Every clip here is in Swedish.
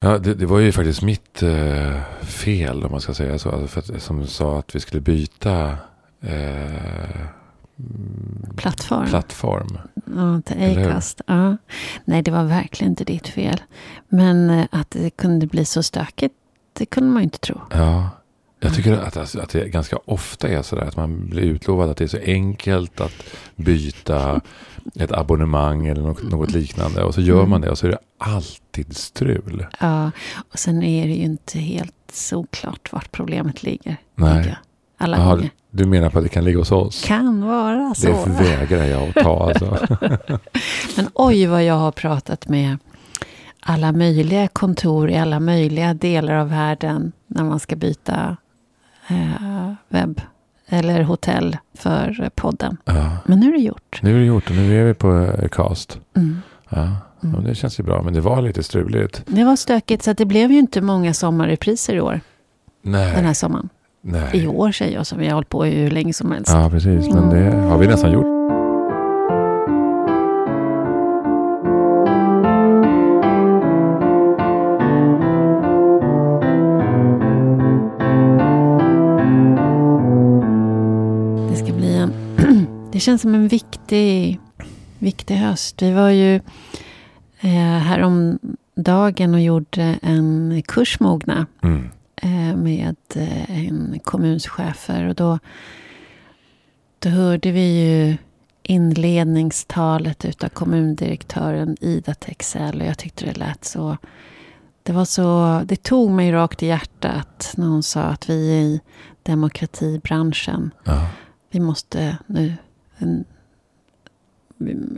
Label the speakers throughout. Speaker 1: Ja, det, det var ju faktiskt mitt eh, fel om man ska säga så. Alltså för att, som sa att vi skulle byta eh,
Speaker 2: Plattform.
Speaker 1: plattform.
Speaker 2: Ja, till
Speaker 1: Eller hur?
Speaker 2: Acast. Ja. Nej, det var verkligen inte ditt fel. Men eh, att det kunde bli så stökigt, det kunde man ju inte tro.
Speaker 1: Ja. Jag tycker att, alltså, att det ganska ofta är sådär att man blir utlovad att det är så enkelt att byta ett abonnemang eller något, något liknande. Och så gör
Speaker 2: Mm.
Speaker 1: man det och så är det alltid strul.
Speaker 2: Ja, och sen är det ju inte helt såklart vart problemet ligger.
Speaker 1: Nej.
Speaker 2: tänker jag. Alla
Speaker 1: Jaha,
Speaker 2: gånger.
Speaker 1: du menar på att det kan ligga hos oss?
Speaker 2: Kan vara så.
Speaker 1: Det vägrar jag att ta alltså.
Speaker 2: Men oj vad jag har pratat med alla möjliga kontor i alla möjliga delar av världen när man ska byta eh, webb eller hotell för eh, podden.
Speaker 1: Ja.
Speaker 2: Men nu är det gjort.
Speaker 1: Nu är det gjort och nu är vi på eh, cast.
Speaker 2: Mm.
Speaker 1: Ja. Ja, men det känns ju bra, men det var lite struligt.
Speaker 2: Det var stökigt, så att det blev ju inte många sommarrepriser i år.
Speaker 1: Nej,
Speaker 2: Den här sommaren.
Speaker 1: nej.
Speaker 2: I år säger jag, som vi har hållit på hur länge som helst.
Speaker 1: Ja, precis. Men det har vi nästan gjort.
Speaker 2: Det ska bli en... det känns som en viktig, viktig höst. Vi var ju eh, häromdagen och gjorde en kurs Mogna
Speaker 1: Mm.
Speaker 2: eh, med eh, en kommunschefer. Och då, då hörde vi ju inledningstalet utav kommundirektören Ida Texell. Och jag tyckte det lät så... Det, var så, det tog mig rakt i hjärtat när hon sa att vi i demokratibranschen
Speaker 1: Ja.
Speaker 2: vi måste nu... En,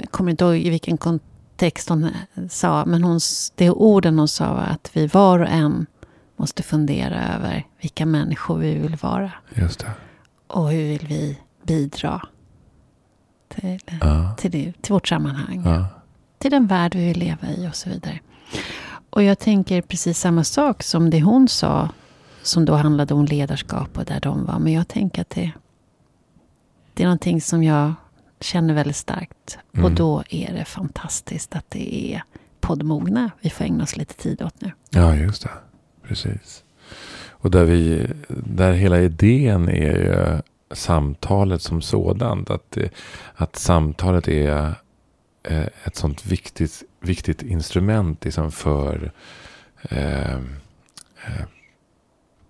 Speaker 2: jag kommer inte ihåg i vilken kontext hon sa, men hon, s- det orden hon sa var att vi var och en måste fundera över vilka människor vi vill vara
Speaker 1: Just det.
Speaker 2: och hur vill vi bidra till,
Speaker 1: Ja.
Speaker 2: till, det, till vårt sammanhang,
Speaker 1: Ja.
Speaker 2: till den värld vi vill leva i och så vidare. Och jag tänker precis samma sak som det hon sa, som då handlade om ledarskap och där de var. Men jag tänker att det, det är någonting som jag känner väldigt starkt. Och
Speaker 1: Mm.
Speaker 2: då är det fantastiskt att det är poddmogna vi får ägna oss lite tid åt nu.
Speaker 1: ja, just det. Precis. Och där, vi, där hela idén är ju samtalet som sådant. Att, det- att samtalet är eh, ett sånt viktigt, viktigt instrument liksom för eh, eh,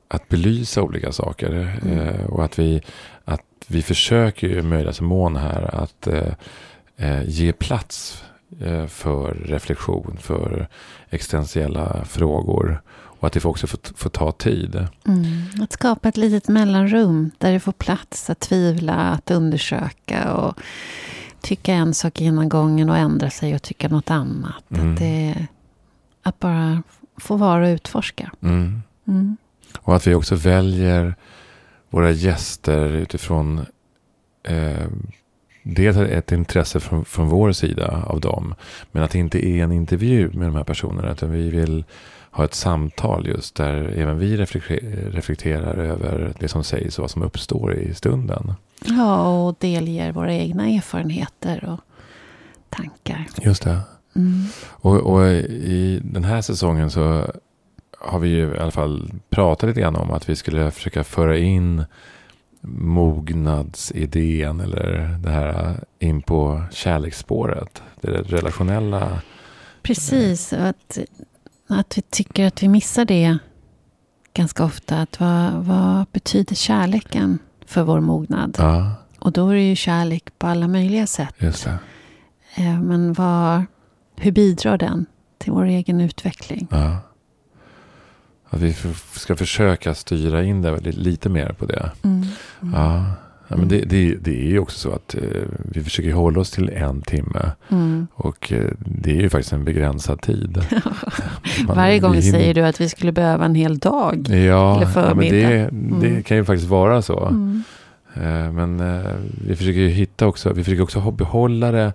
Speaker 1: att belysa olika saker.
Speaker 2: Mm.
Speaker 1: Eh, och att vi, att vi försöker ju i möjligaste mån här att eh, eh, ge plats eh, för reflektion, för existentiella frågor. Och att det också får, får ta tid.
Speaker 2: Mm. Att skapa ett litet mellanrum där det får plats att tvivla, att undersöka och tycka en sak ena gången och ändra sig och tycka något annat.
Speaker 1: Mm.
Speaker 2: Att, det, att bara få vara och utforska.
Speaker 1: Mm.
Speaker 2: Mm.
Speaker 1: Och att vi också väljer våra gäster utifrån eh, dels ett intresse från, från vår sida av dem. Men att det inte är en intervju med de här personerna. Utan vi vill ha ett samtal just där även vi reflekte- reflekterar över det som sägs och vad som uppstår i stunden.
Speaker 2: Ja, och delger våra egna erfarenheter och tankar.
Speaker 1: Just det.
Speaker 2: Mm.
Speaker 1: Och, och i den här säsongen så har vi ju i alla fall pratat lite grann om att vi skulle försöka föra in mognadsidén eller det här äh, in på kärleksspåret. Det relationella.
Speaker 2: Precis, och att, att vi tycker att vi missar det ganska ofta. Att vad, vad betyder kärleken för vår mognad?
Speaker 1: Ja,
Speaker 2: Och då är det ju kärlek på alla möjliga sätt.
Speaker 1: just det.
Speaker 2: Eh, Men vad, hur bidrar den till vår egen utveckling?
Speaker 1: Ja. Att vi f- ska försöka styra in det li- lite mer på det.
Speaker 2: Mm.
Speaker 1: Ja. Ja, men det, det, det är ju också så att eh, vi försöker hålla oss till en timme.
Speaker 2: Mm.
Speaker 1: Och eh, det är ju faktiskt en begränsad tid. Man-
Speaker 2: Varje gång
Speaker 1: vi hinner-
Speaker 2: säger du att vi skulle behöva en hel dag.
Speaker 1: Ja,
Speaker 2: eller
Speaker 1: ja men det,
Speaker 2: förmiddag. Mm.
Speaker 1: det kan ju faktiskt vara så.
Speaker 2: Mm.
Speaker 1: Eh, Men eh, vi försöker ju hitta också, vi försöker också ha- behålla det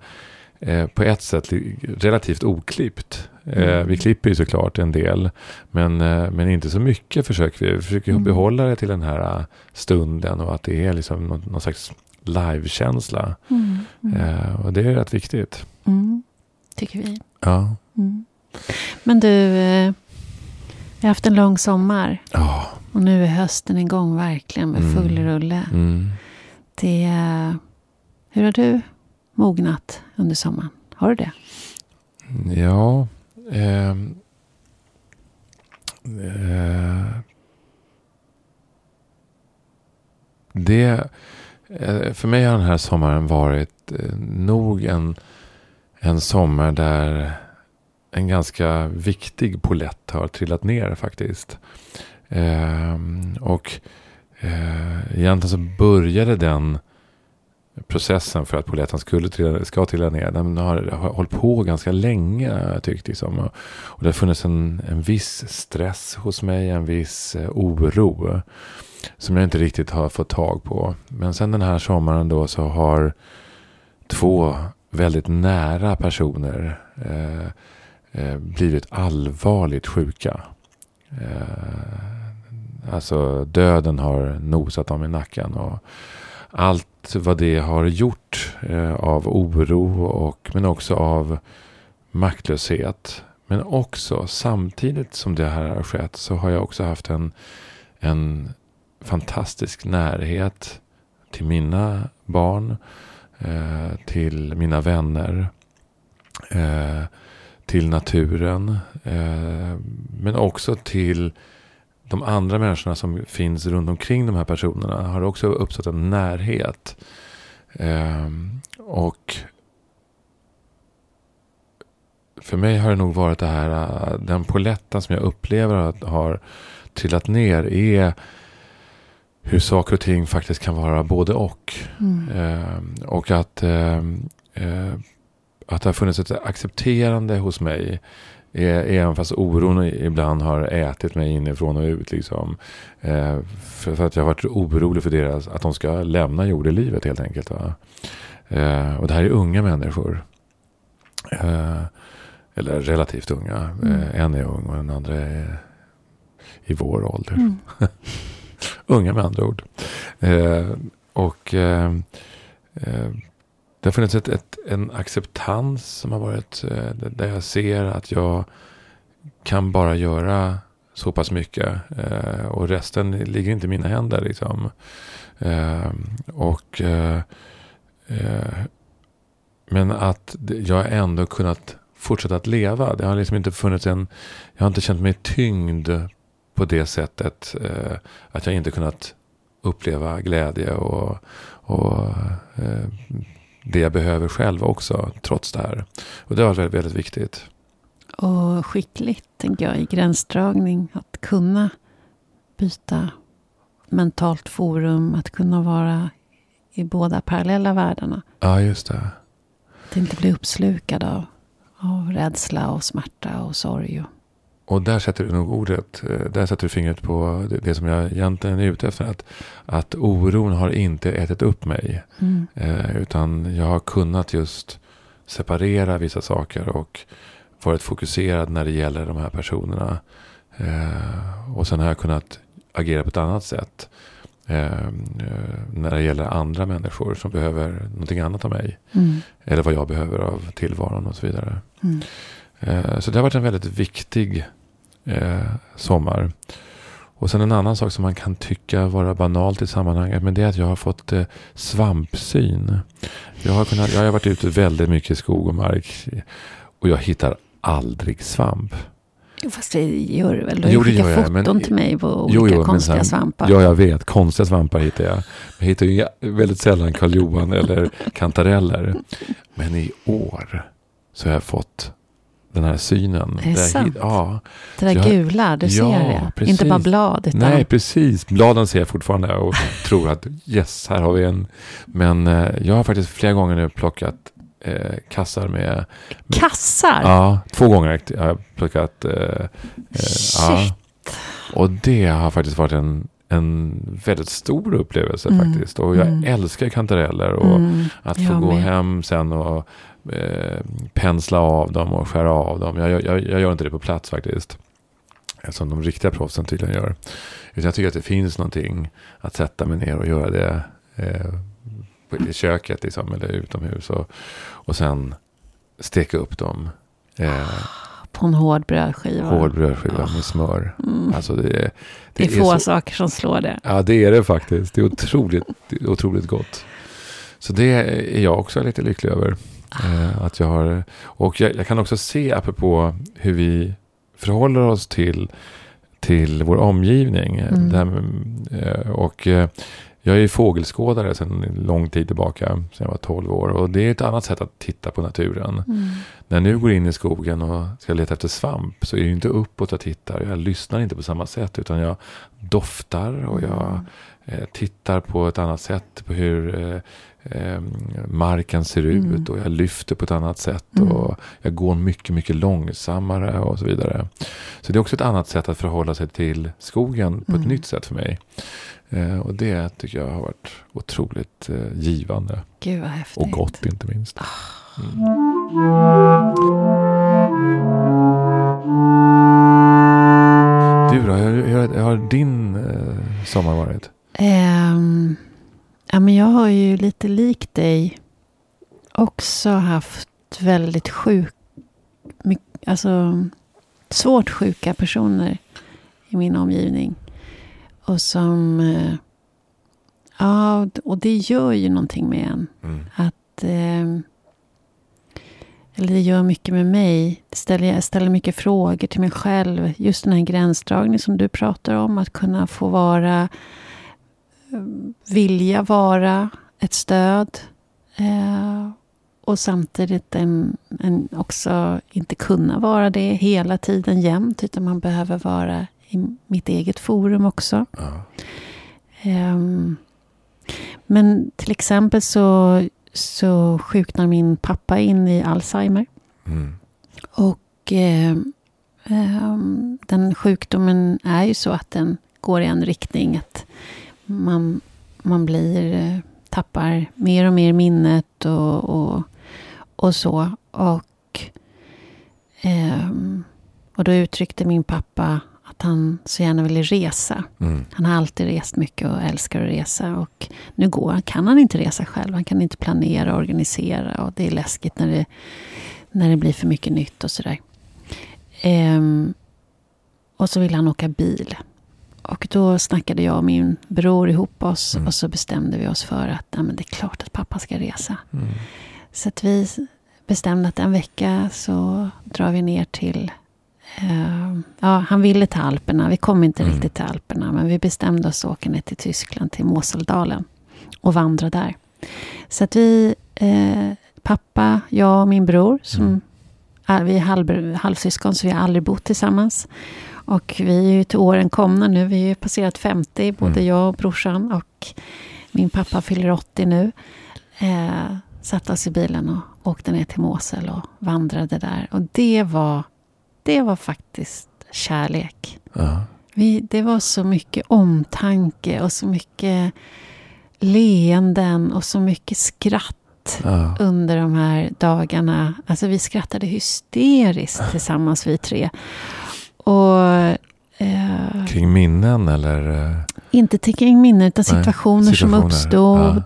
Speaker 1: eh, på ett sätt li- relativt oklippt. Eh,
Speaker 2: Mm.
Speaker 1: Vi klipper ju såklart en del, men, eh, men inte så mycket försöker vi. Vi försöker ju
Speaker 2: Mm.
Speaker 1: behålla det till den här eh, stunden och att det är liksom någon, någon slags livekänsla.
Speaker 2: Mm. Mm.
Speaker 1: Eh, Och det är rätt viktigt.
Speaker 2: Mm. Tycker vi.
Speaker 1: Ja.
Speaker 2: Mm. Men du, eh, Jag har haft en lång sommar
Speaker 1: Ja.
Speaker 2: och nu är hösten igång verkligen med
Speaker 1: Mm.
Speaker 2: full rulle.
Speaker 1: Mm.
Speaker 2: Det, är- hur har du mognat under sommaren? Har du det?
Speaker 1: Ja. ehm, eh, det, eh, för mig har den här sommaren varit eh, nog en, en sommar där en ganska viktig polett har trillat ner faktiskt. Ehm, och eh, egentligen så började den processen för att polletten skulle trilla, ska trilla ner, den har, har hållit på ganska länge har jag tyckt. Liksom. Och, och det har funnits en, en viss stress hos mig, en viss eh, oro. Som jag inte riktigt har fått tag på. Men sen den här sommaren då så har två väldigt nära personer eh, eh, blivit allvarligt sjuka. Eh, alltså döden har nosat dem i nacken. och allt vad det har gjort eh, av oro och men också av maktlöshet. Men också samtidigt som det här har skett så har jag också haft en, en fantastisk närhet till mina barn, eh, till mina vänner, eh, till naturen, eh, men också till de andra människorna som finns runt omkring de här personerna har också uppstått en närhet. Ehm, och för mig har det nog varit det här, eh, den poletten som jag upplever att har trillat ner är hur saker och ting faktiskt kan vara både och.
Speaker 2: Mm.
Speaker 1: Ehm, och att, ehm, eh, att det har funnits ett accepterande hos mig. Eh, Även fast oron ibland har ätit mig inifrån och ut. Liksom. Eh, För, för att jag har varit orolig för deras, att de ska lämna jordelivet helt enkelt. Va? Eh, Och det här är unga människor. Eh, Eller relativt unga.
Speaker 2: Mm.
Speaker 1: Eh, En är ung och den andra är i vår ålder.
Speaker 2: Mm.
Speaker 1: Unga med andra ord. Eh, och eh, eh, det har funnits ett, ett, en acceptans som har varit eh, där jag ser att jag kan bara göra så pass mycket eh, och resten ligger inte i mina händer. Liksom. Eh, och, eh, eh, men att det- jag ändå kunnat fortsätta att leva. Det har liksom inte funnits en, jag har inte känt mig tyngd på det sättet. Eh, att jag inte kunnat uppleva glädje och, och eh, det jag behöver själv också, trots det här. Och det var väldigt, väldigt viktigt.
Speaker 2: Och skickligt, tänker jag, i gränsdragning. Att kunna byta mentalt forum. Att kunna vara i båda parallella världarna.
Speaker 1: Ja, just det.
Speaker 2: Att inte bli uppslukad av, av rädsla och smärta och sorg. Och,
Speaker 1: Och där sätter du nog ordet, eh, där sätter du fingret på det, det som jag egentligen är ute efter. Att, att oron har inte ätit upp mig.
Speaker 2: mm.
Speaker 1: Eh, utan jag har kunnat just separera vissa saker och varit fokuserad när det gäller de här personerna. Eh, och sen har jag kunnat agera på ett annat sätt. Eh, eh, när det gäller andra människor som behöver någonting annat av mig.
Speaker 2: Mm.
Speaker 1: Eller vad jag behöver av tillvaron och så vidare.
Speaker 2: Mm.
Speaker 1: Eh, Så det har varit en väldigt viktig eh, sommar. Och sen en annan sak som man kan tycka vara banalt i sammanhanget. Men det är att jag har fått eh, svampsyn. Jag har, kunnat, jag har varit ute väldigt mycket i skog och mark. Och jag hittar aldrig svamp.
Speaker 2: Jo, Fast det gör du väl? Du har
Speaker 1: Jo,
Speaker 2: ju
Speaker 1: det
Speaker 2: skickat
Speaker 1: gör jag,
Speaker 2: foton
Speaker 1: men-
Speaker 2: till mig på olika
Speaker 1: Jo, jo, men
Speaker 2: konstiga
Speaker 1: sen-
Speaker 2: svampar.
Speaker 1: Ja, jag vet. Konstiga svampar hittar jag. Jag hittar ju jä- väldigt sällan karl johan eller kantareller. Men i år så har jag fått den här synen.
Speaker 2: Är det
Speaker 1: Där jag
Speaker 2: sant?
Speaker 1: hit- Ja.
Speaker 2: det där
Speaker 1: jag-
Speaker 2: gula, du
Speaker 1: Ja,
Speaker 2: ser det.
Speaker 1: precis.
Speaker 2: Inte bara blad, utan...
Speaker 1: Nej, precis. Bladen ser jag fortfarande och tror att yes, här har vi en. Men eh, jag har faktiskt flera gånger nu plockat eh, kassar med...
Speaker 2: Kassar!
Speaker 1: Ja, två gånger har jag plockat... Eh, eh, ja.
Speaker 2: Shit.
Speaker 1: Och det har faktiskt varit en, en väldigt stor upplevelse
Speaker 2: Mm,
Speaker 1: faktiskt. Och jag
Speaker 2: mm.
Speaker 1: älskar kantareller och
Speaker 2: Mm.
Speaker 1: att få
Speaker 2: jag
Speaker 1: gå
Speaker 2: med.
Speaker 1: hem sen och eh, pensla av dem och skära av dem. Jag, jag, jag gör inte det på plats faktiskt. Som de riktiga proffsen tydligen gör. Utan jag tycker att det finns någonting att sätta mig ner och göra det eh, på- i köket
Speaker 2: Ah,
Speaker 1: liksom, eller utomhus. Och, och sen steka upp dem. Eh,
Speaker 2: på en hård brödskiva.
Speaker 1: Hård brödskiva med smör.
Speaker 2: Mm.
Speaker 1: Alltså det är,
Speaker 2: Ah. det är,
Speaker 1: är
Speaker 2: få
Speaker 1: så-
Speaker 2: saker som slår det.
Speaker 1: Ja, det är det faktiskt. Det är otroligt, det är otroligt gott. Så det är jag också lite lycklig över. Eh, att jag har, och jag, jag kan också se, apropå hur vi förhåller oss till, till vår omgivning. eh,
Speaker 2: Mm.
Speaker 1: Det här med, eh, och eh, jag är ju fågelskådare sedan lång tid tillbaka, sedan jag var 12 år. Och det är ett annat sätt att titta på naturen.
Speaker 2: Mm.
Speaker 1: När jag nu går in i skogen och ska leta efter svamp så är det ju inte uppåt jag tittar. Jag lyssnar inte på samma sätt utan jag doftar och jag eh, tittar på ett annat sätt på hur eh, eh, marken ser
Speaker 2: Mm.
Speaker 1: ut och jag lyfter på ett annat sätt
Speaker 2: Mm.
Speaker 1: och jag går mycket, mycket långsammare och så vidare. Så det är också ett annat sätt att förhålla sig till skogen på ett
Speaker 2: Mm.
Speaker 1: nytt sätt för mig. Eh, och det tycker jag har varit otroligt eh, givande
Speaker 2: Gud vad häftigt.
Speaker 1: och gott inte
Speaker 2: Ah.
Speaker 1: minst. Mm. Du då, hur, hur, hur har din eh, sommar varit?
Speaker 2: Ehm, ja, men jag har ju lite likt dig också haft väldigt sjuk, my- alltså svårt sjuka personer i min omgivning. Och som, eh, ja, och d- och det gör ju någonting med en. Att, ehm, eller det gör mycket med mig. Det ställer, jag ställer mycket frågor till mig själv. Just den här gränsdragningen som du pratar om. Att kunna få vara, eh, vilja vara ett stöd. Eh, och samtidigt en, en också inte kunna vara det hela tiden jämt. Utan man behöver vara i mitt eget forum också.
Speaker 1: Ja.
Speaker 2: Ehm, men till exempel så, så sjuknar min pappa in i Alzheimer.
Speaker 1: Mm.
Speaker 2: Och ehm, ehm, den sjukdomen är ju så att den går i en riktning. Att man, man blir, eh, tappar mer och mer minnet och, och, och så. Och, ehm, och då uttryckte min pappa att han så gärna ville resa.
Speaker 1: Mm.
Speaker 2: Han har alltid rest mycket och älskar att resa. Och nu går, han- kan han inte resa själv. Han kan inte planera och organisera. Och det är läskigt när det, när det blir för mycket nytt och sådär. Ehm, och så ville han åka bil. Och då snackade jag och min bror ihop oss.
Speaker 1: Mm.
Speaker 2: Och så bestämde vi oss för att nej, men det är klart att pappa ska resa.
Speaker 1: Mm.
Speaker 2: Så att vi bestämde att en vecka så drar vi ner till... eh, ja, han ville till Alperna. Vi kom inte
Speaker 1: Mm.
Speaker 2: riktigt till Alperna. Men vi bestämde oss att åka ner till Tyskland, till Moseldalen. Och vandra där. Så att vi... eh, pappa, jag och min bror. Som,
Speaker 1: Mm.
Speaker 2: är- vi är halv, halvsyskon så vi har aldrig bott tillsammans. Och vi är ju till åren komna nu. Vi har ju passerat 50, både
Speaker 1: Mm.
Speaker 2: jag och brorsan. Och min pappa fyller 80 nu. Eh, satte oss i bilen och åkte ner till Mosel och vandrade där. Och det var, det var faktiskt kärlek.
Speaker 1: Ja.
Speaker 2: Vi, det var så mycket omtanke och så mycket leenden och så mycket skratt
Speaker 1: Ja.
Speaker 2: under de här dagarna. Alltså vi skrattade hysteriskt tillsammans vi tre. Och eh,
Speaker 1: Kring minnen eller? eh,
Speaker 2: inte till kring minnen utan
Speaker 1: Nej,
Speaker 2: situationer,
Speaker 1: situationer,
Speaker 2: som uppstod.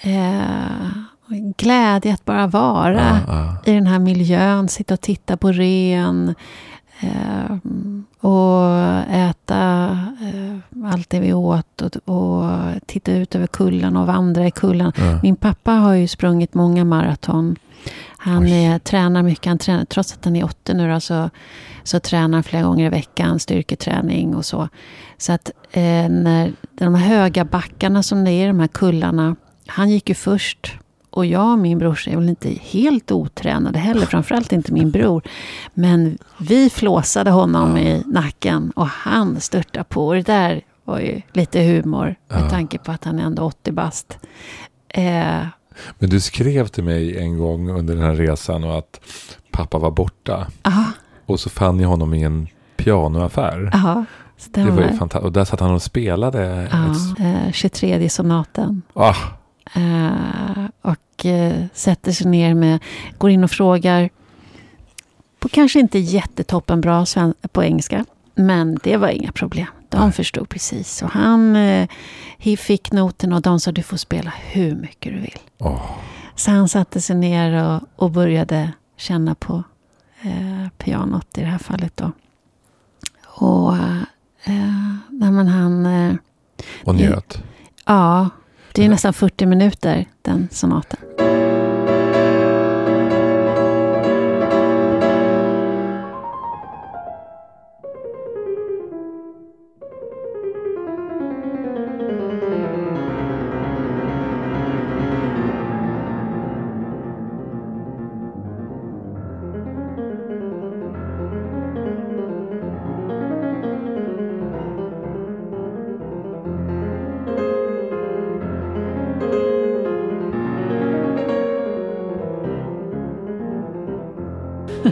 Speaker 2: Eh, glädje att bara vara
Speaker 1: Ja, ja.
Speaker 2: i den här miljön, sitta och titta på ren. Eh, och äta eh, allt det vi åt och, och titta ut över kullen och vandra i kullen.
Speaker 1: Ja.
Speaker 2: Min pappa har ju sprungit många maraton. Han
Speaker 1: Oj.
Speaker 2: är, tränar mycket. Han tränar, trots att han är 80 nu då, så, så tränar han flera gånger i veckan, styrketräning och så. Så att eh, när de här höga backarna som det är, de här kullarna. Han gick ju först. Och jag och min brorsa är väl inte helt otränade heller, framförallt inte min bror. Men vi flåsade honom i nacken och han störtade på. Och det där var ju lite humor med
Speaker 1: Ja.
Speaker 2: tanke på att han är ändå 80 bast. Eh,
Speaker 1: Men du skrev till mig en gång under den här resan och att pappa var borta.
Speaker 2: Aha,
Speaker 1: Och så fann jag honom i en pianoaffär.
Speaker 2: aha,
Speaker 1: Det var ju
Speaker 2: stämmer.
Speaker 1: fantastiskt. Och där satt han och spelade.
Speaker 2: Ja,
Speaker 1: Ett...
Speaker 2: eh, 23 sonaten.
Speaker 1: Ah,
Speaker 2: Eh, och eh, sätter sig ner med, går in och frågar på kanske inte jättetoppenbra sven- på engelska. Men det var inga problem. De
Speaker 1: Nej.
Speaker 2: förstod precis. Och han eh, he- fick noten och de sa du får spela hur mycket du vill.
Speaker 1: åh,
Speaker 2: Så han satte sig ner och, och började känna på eh, pianot i det här fallet då. Och eh, nej, men han, eh,
Speaker 1: Och
Speaker 2: Mm.
Speaker 1: njöt.
Speaker 2: ja, det är
Speaker 1: Men-
Speaker 2: nästan 40 minuter den sonaten.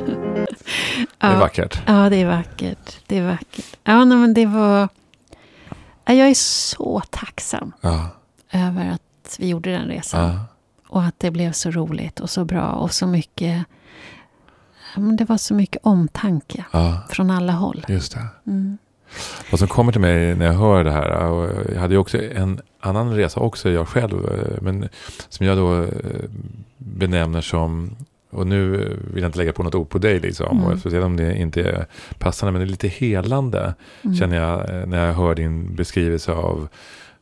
Speaker 1: Det är
Speaker 2: Ja.
Speaker 1: vackert.
Speaker 2: Ja, det är vackert. Det är vackert. Ja, nej, men det var... Ja, Jag är så tacksam
Speaker 1: Ja.
Speaker 2: över att vi gjorde den resan.
Speaker 1: Ja.
Speaker 2: Och att det blev så roligt och så bra och så mycket... ja, Men det var så mycket omtanke
Speaker 1: ja.
Speaker 2: från alla håll.
Speaker 1: Just det.
Speaker 2: Mm.
Speaker 1: Vad som kommer till mig när jag hör det här, och jag hade ju också en annan resa också, jag själv, eh, men som jag då eh, benämner som, och nu vill jag inte lägga på något ord på dig liksom,
Speaker 2: Mm.
Speaker 1: och speciellt om det inte är passande, men det är lite helande
Speaker 2: Mm.
Speaker 1: känner jag eh, när jag hör din beskrivelse av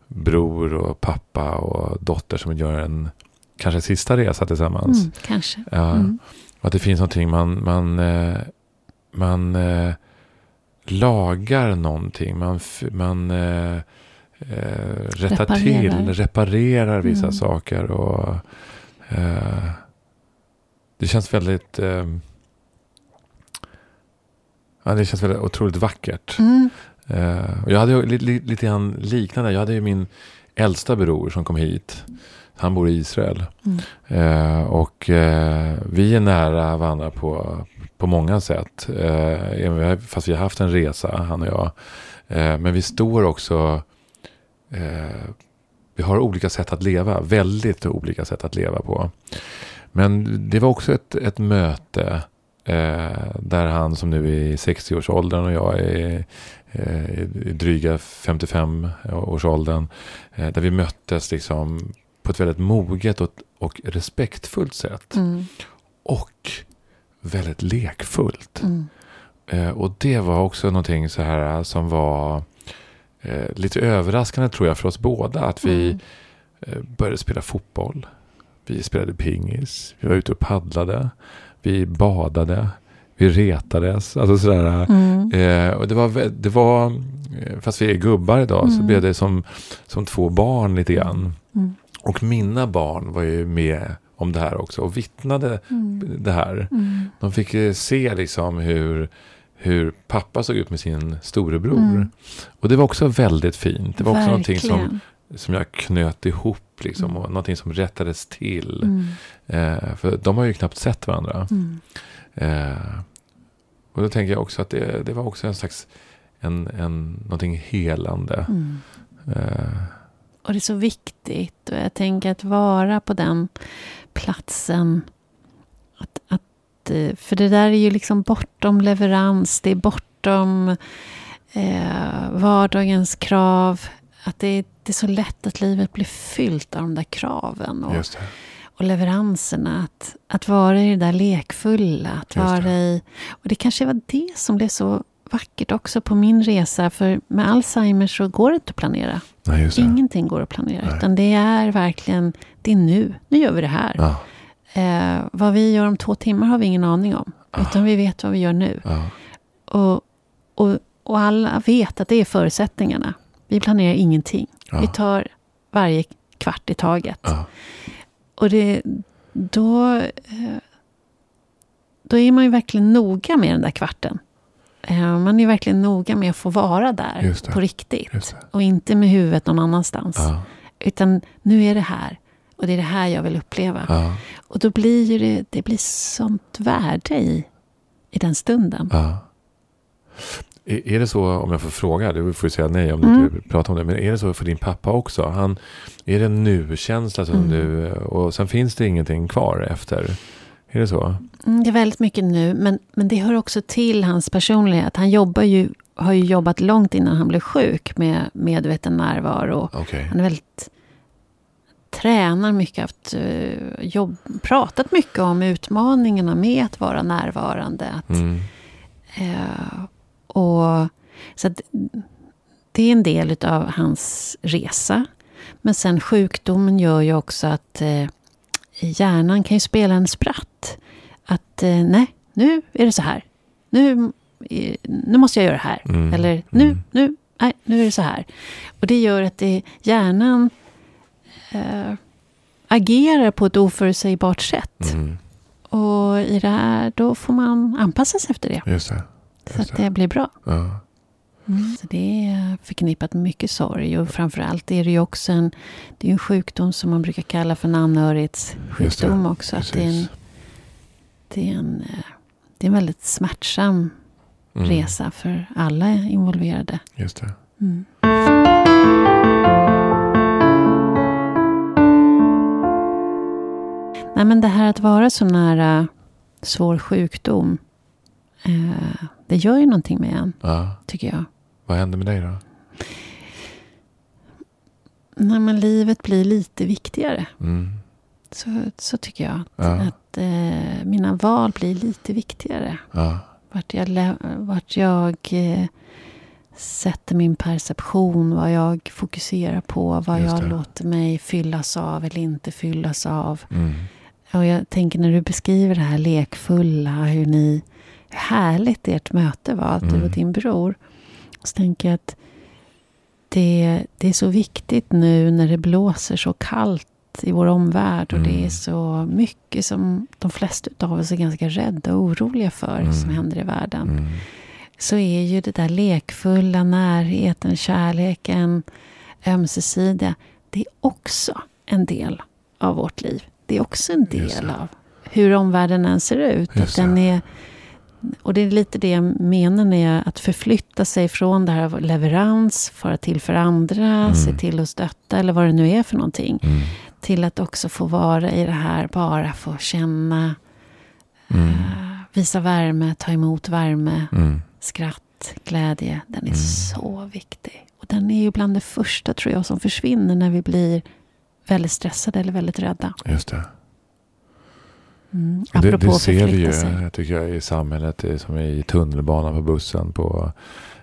Speaker 1: bror och pappa och dotter som gör en kanske sista resa tillsammans.
Speaker 2: Mm, kanske.
Speaker 1: Ja.
Speaker 2: Mm.
Speaker 1: Och Att det finns någonting man, man, eh, man eh, lagar någonting. Man, f- man eh, eh, rättar
Speaker 2: Reparerar.
Speaker 1: till, reparerar vissa
Speaker 2: Mm.
Speaker 1: saker. Och, eh, det känns väldigt... Eh, ja, det känns väldigt otroligt vackert.
Speaker 2: Mm.
Speaker 1: Eh, och jag hade ju li, li, lite grann liknande. Jag hade ju min äldsta bror som kom hit. Han bor i Israel.
Speaker 2: Mm.
Speaker 1: Eh, och eh, vi är nära varandra på, på många sätt. Eh, även vi har- fast vi har haft en resa, han och jag. Eh, men vi står också... Eh, vi har olika sätt att leva. Väldigt olika sätt att leva på. Men det var också ett, ett möte. Eh, där han som nu är i 60-årsåldern och jag är eh, i dryga 55-årsåldern. Eh, där vi möttes liksom på ett väldigt moget och, och respektfullt sätt.
Speaker 2: Mm.
Speaker 1: Och väldigt lekfullt.
Speaker 2: Mm.
Speaker 1: Eh, och det var också någonting så här eh, som var eh, lite överraskande tror jag för oss båda. Att vi
Speaker 2: Mm.
Speaker 1: eh, började spela fotboll. Vi spelade pingis. Vi var ute och paddlade. Vi badade. Vi retades. Alltså sådär. eh,
Speaker 2: Mm.
Speaker 1: Eh, och det var, vä- det var, eh, fast vi är gubbar idag, så
Speaker 2: Mm.
Speaker 1: blev det som, som två barn lite grann.
Speaker 2: Mm.
Speaker 1: Och mina barn var ju med om det här också och vittnade
Speaker 2: Mm.
Speaker 1: det här.
Speaker 2: Mm.
Speaker 1: De fick eh, se liksom hur, hur pappa såg ut med sin storebror.
Speaker 2: Mm.
Speaker 1: Och det var också väldigt fint. Det var också någonting som,
Speaker 2: Verkligen.
Speaker 1: som jag knöt ihop liksom,
Speaker 2: Mm.
Speaker 1: och någonting som rättades till.
Speaker 2: Mm.
Speaker 1: Eh, för de har ju knappt sett varandra.
Speaker 2: Mm.
Speaker 1: Eh, och då tänker jag också att det, det var också en slags en, en, någonting helande.
Speaker 2: Mm.
Speaker 1: Eh,
Speaker 2: Och det är så viktigt. Och jag tänker att vara på den platsen. Att, att, eh, för det där är ju liksom bortom leverans. Det är bortom eh, vardagens krav. Att det, är- det är så lätt att livet blir fyllt av de där kraven och,
Speaker 1: just det.
Speaker 2: och leveranserna. Att, att vara i det där lekfulla. Att
Speaker 1: Just det.
Speaker 2: vara i... Och det kanske var det som blev så vackert också på min resa. För med Alzheimer så går det inte att planera.
Speaker 1: Nej, just det.
Speaker 2: Ingenting går att planera.
Speaker 1: Nej.
Speaker 2: Utan det är verkligen, det är nu. Nu gör vi det här.
Speaker 1: Ja,
Speaker 2: Eh, vad vi gör om två timmar har vi ingen aning om.
Speaker 1: Ah.
Speaker 2: Utan vi vet vad vi gör nu.
Speaker 1: ja,
Speaker 2: Och, och, och alla vet att det är förutsättningarna. Vi planerar ingenting. Vi
Speaker 1: ja,
Speaker 2: tar varje kvart i taget.
Speaker 1: ja,
Speaker 2: Och det, då, eh, då är man ju verkligen noga med den där kvarten. Eh, Man är verkligen noga med att få vara där
Speaker 1: Just det.
Speaker 2: på riktigt.
Speaker 1: just det. Ah.
Speaker 2: Och inte med huvudet någon annanstans.
Speaker 1: Ja,
Speaker 2: Utan nu är det här. Och det är det här jag vill uppleva.
Speaker 1: ja,
Speaker 2: Och då blir ju det, det blir sånt värde i, i den stunden.
Speaker 1: ja. Är, är det så, om jag får fråga, du får ju säga nej om du
Speaker 2: Mm.
Speaker 1: inte vill prata om det, men är det så för din pappa också? Han, är det en nu-känsla som
Speaker 2: Mm.
Speaker 1: du, och sen finns det ingenting kvar efter? Är det så?
Speaker 2: Mm, det är väldigt mycket nu, men, men det hör också till hans personlighet. Han jobbar ju, har ju jobbat långt innan han blev sjuk med medveten närvaro.
Speaker 1: Okej.
Speaker 2: Han är väldigt tränar mycket, haft, eh, jobb, pratat mycket om utmaningarna med att vara närvarande. Att,
Speaker 1: Mm.
Speaker 2: eh, och, så att, det är en del av hans resa. Men sen sjukdomen gör ju också att eh, hjärnan kan ju spela en spratt. Att eh, nej, nu är det så här. Nu, eh, nu måste jag göra det här.
Speaker 1: Mm.
Speaker 2: Eller nu,
Speaker 1: Mm.
Speaker 2: nu, nej, nu är det så här. Och det gör att det, hjärnan eh, agerar på ett oförutsägbart sätt.
Speaker 1: Mm.
Speaker 2: Och i det här, då får man anpassa sig efter det.
Speaker 1: Just det.
Speaker 2: Så
Speaker 1: Just
Speaker 2: att det blir bra.
Speaker 1: Ja. Mm.
Speaker 2: Så det är förknippat med mycket sorg. Och framförallt är det ju också en, det är ju en sjukdom som man brukar kalla för en
Speaker 1: Just det.
Speaker 2: anhörighetssjukdom också. Att det, är en,
Speaker 1: Precis.
Speaker 2: det, är en, eh, det är en väldigt smärtsam
Speaker 1: Mm.
Speaker 2: resa för alla involverade.
Speaker 1: Just det.
Speaker 2: Mm. Nej, men det här att vara så nära svår sjukdom, eh, det gör ju någonting med en,
Speaker 1: Ja.
Speaker 2: tycker jag.
Speaker 1: Vad hände med dig då?
Speaker 2: Nej, men livet blir lite viktigare,
Speaker 1: Mm.
Speaker 2: så, så tycker jag. Att,
Speaker 1: Ja.
Speaker 2: att eh, mina val blir lite viktigare.
Speaker 1: Ja.
Speaker 2: Vart jag, lä- vart jag eh, sätter min perception, vad jag fokuserar på, vad
Speaker 1: Just
Speaker 2: jag
Speaker 1: det.
Speaker 2: låter mig fyllas av eller inte fyllas av.
Speaker 1: Mm.
Speaker 2: Och jag tänker när du beskriver det här lekfulla, hur ni hur härligt ert möte var, att du
Speaker 1: Mm.
Speaker 2: och din bror. Så tänker jag att det, det är så viktigt nu när det blåser så kallt i vår omvärld och det
Speaker 1: Mm.
Speaker 2: är så mycket som de flesta av oss är ganska rädda och oroliga för
Speaker 1: Mm.
Speaker 2: som händer i världen
Speaker 1: Mm.
Speaker 2: så är ju det där lekfulla, närheten, kärleken, ömsesidiga, det är också en del av vårt liv. Det är också en
Speaker 1: Just
Speaker 2: del
Speaker 1: det.
Speaker 2: av hur omvärlden än ser ut. Att
Speaker 1: Just
Speaker 2: den är, och det är lite det jag menar när jag, att förflytta sig från det här av leverans, fara till för andra,
Speaker 1: Mm.
Speaker 2: se till att stötta eller vad det nu är för någonting.
Speaker 1: Mm.
Speaker 2: Till att också få vara i det här, bara få känna,
Speaker 1: Mm.
Speaker 2: eh, visa värme, ta emot värme
Speaker 1: Mm.
Speaker 2: skratt, glädje, den är
Speaker 1: Mm.
Speaker 2: så viktig. Och den är ju bland det första, tror jag, som försvinner när vi blir väldigt stressade eller väldigt rädda.
Speaker 1: Just det.
Speaker 2: Mm.
Speaker 1: Och Det,
Speaker 2: Apropå
Speaker 1: det ser vi
Speaker 2: förflytta
Speaker 1: ju, eh,
Speaker 2: sig.
Speaker 1: tycker jag, i samhället. Det är som i tunnelbanan på bussen. På,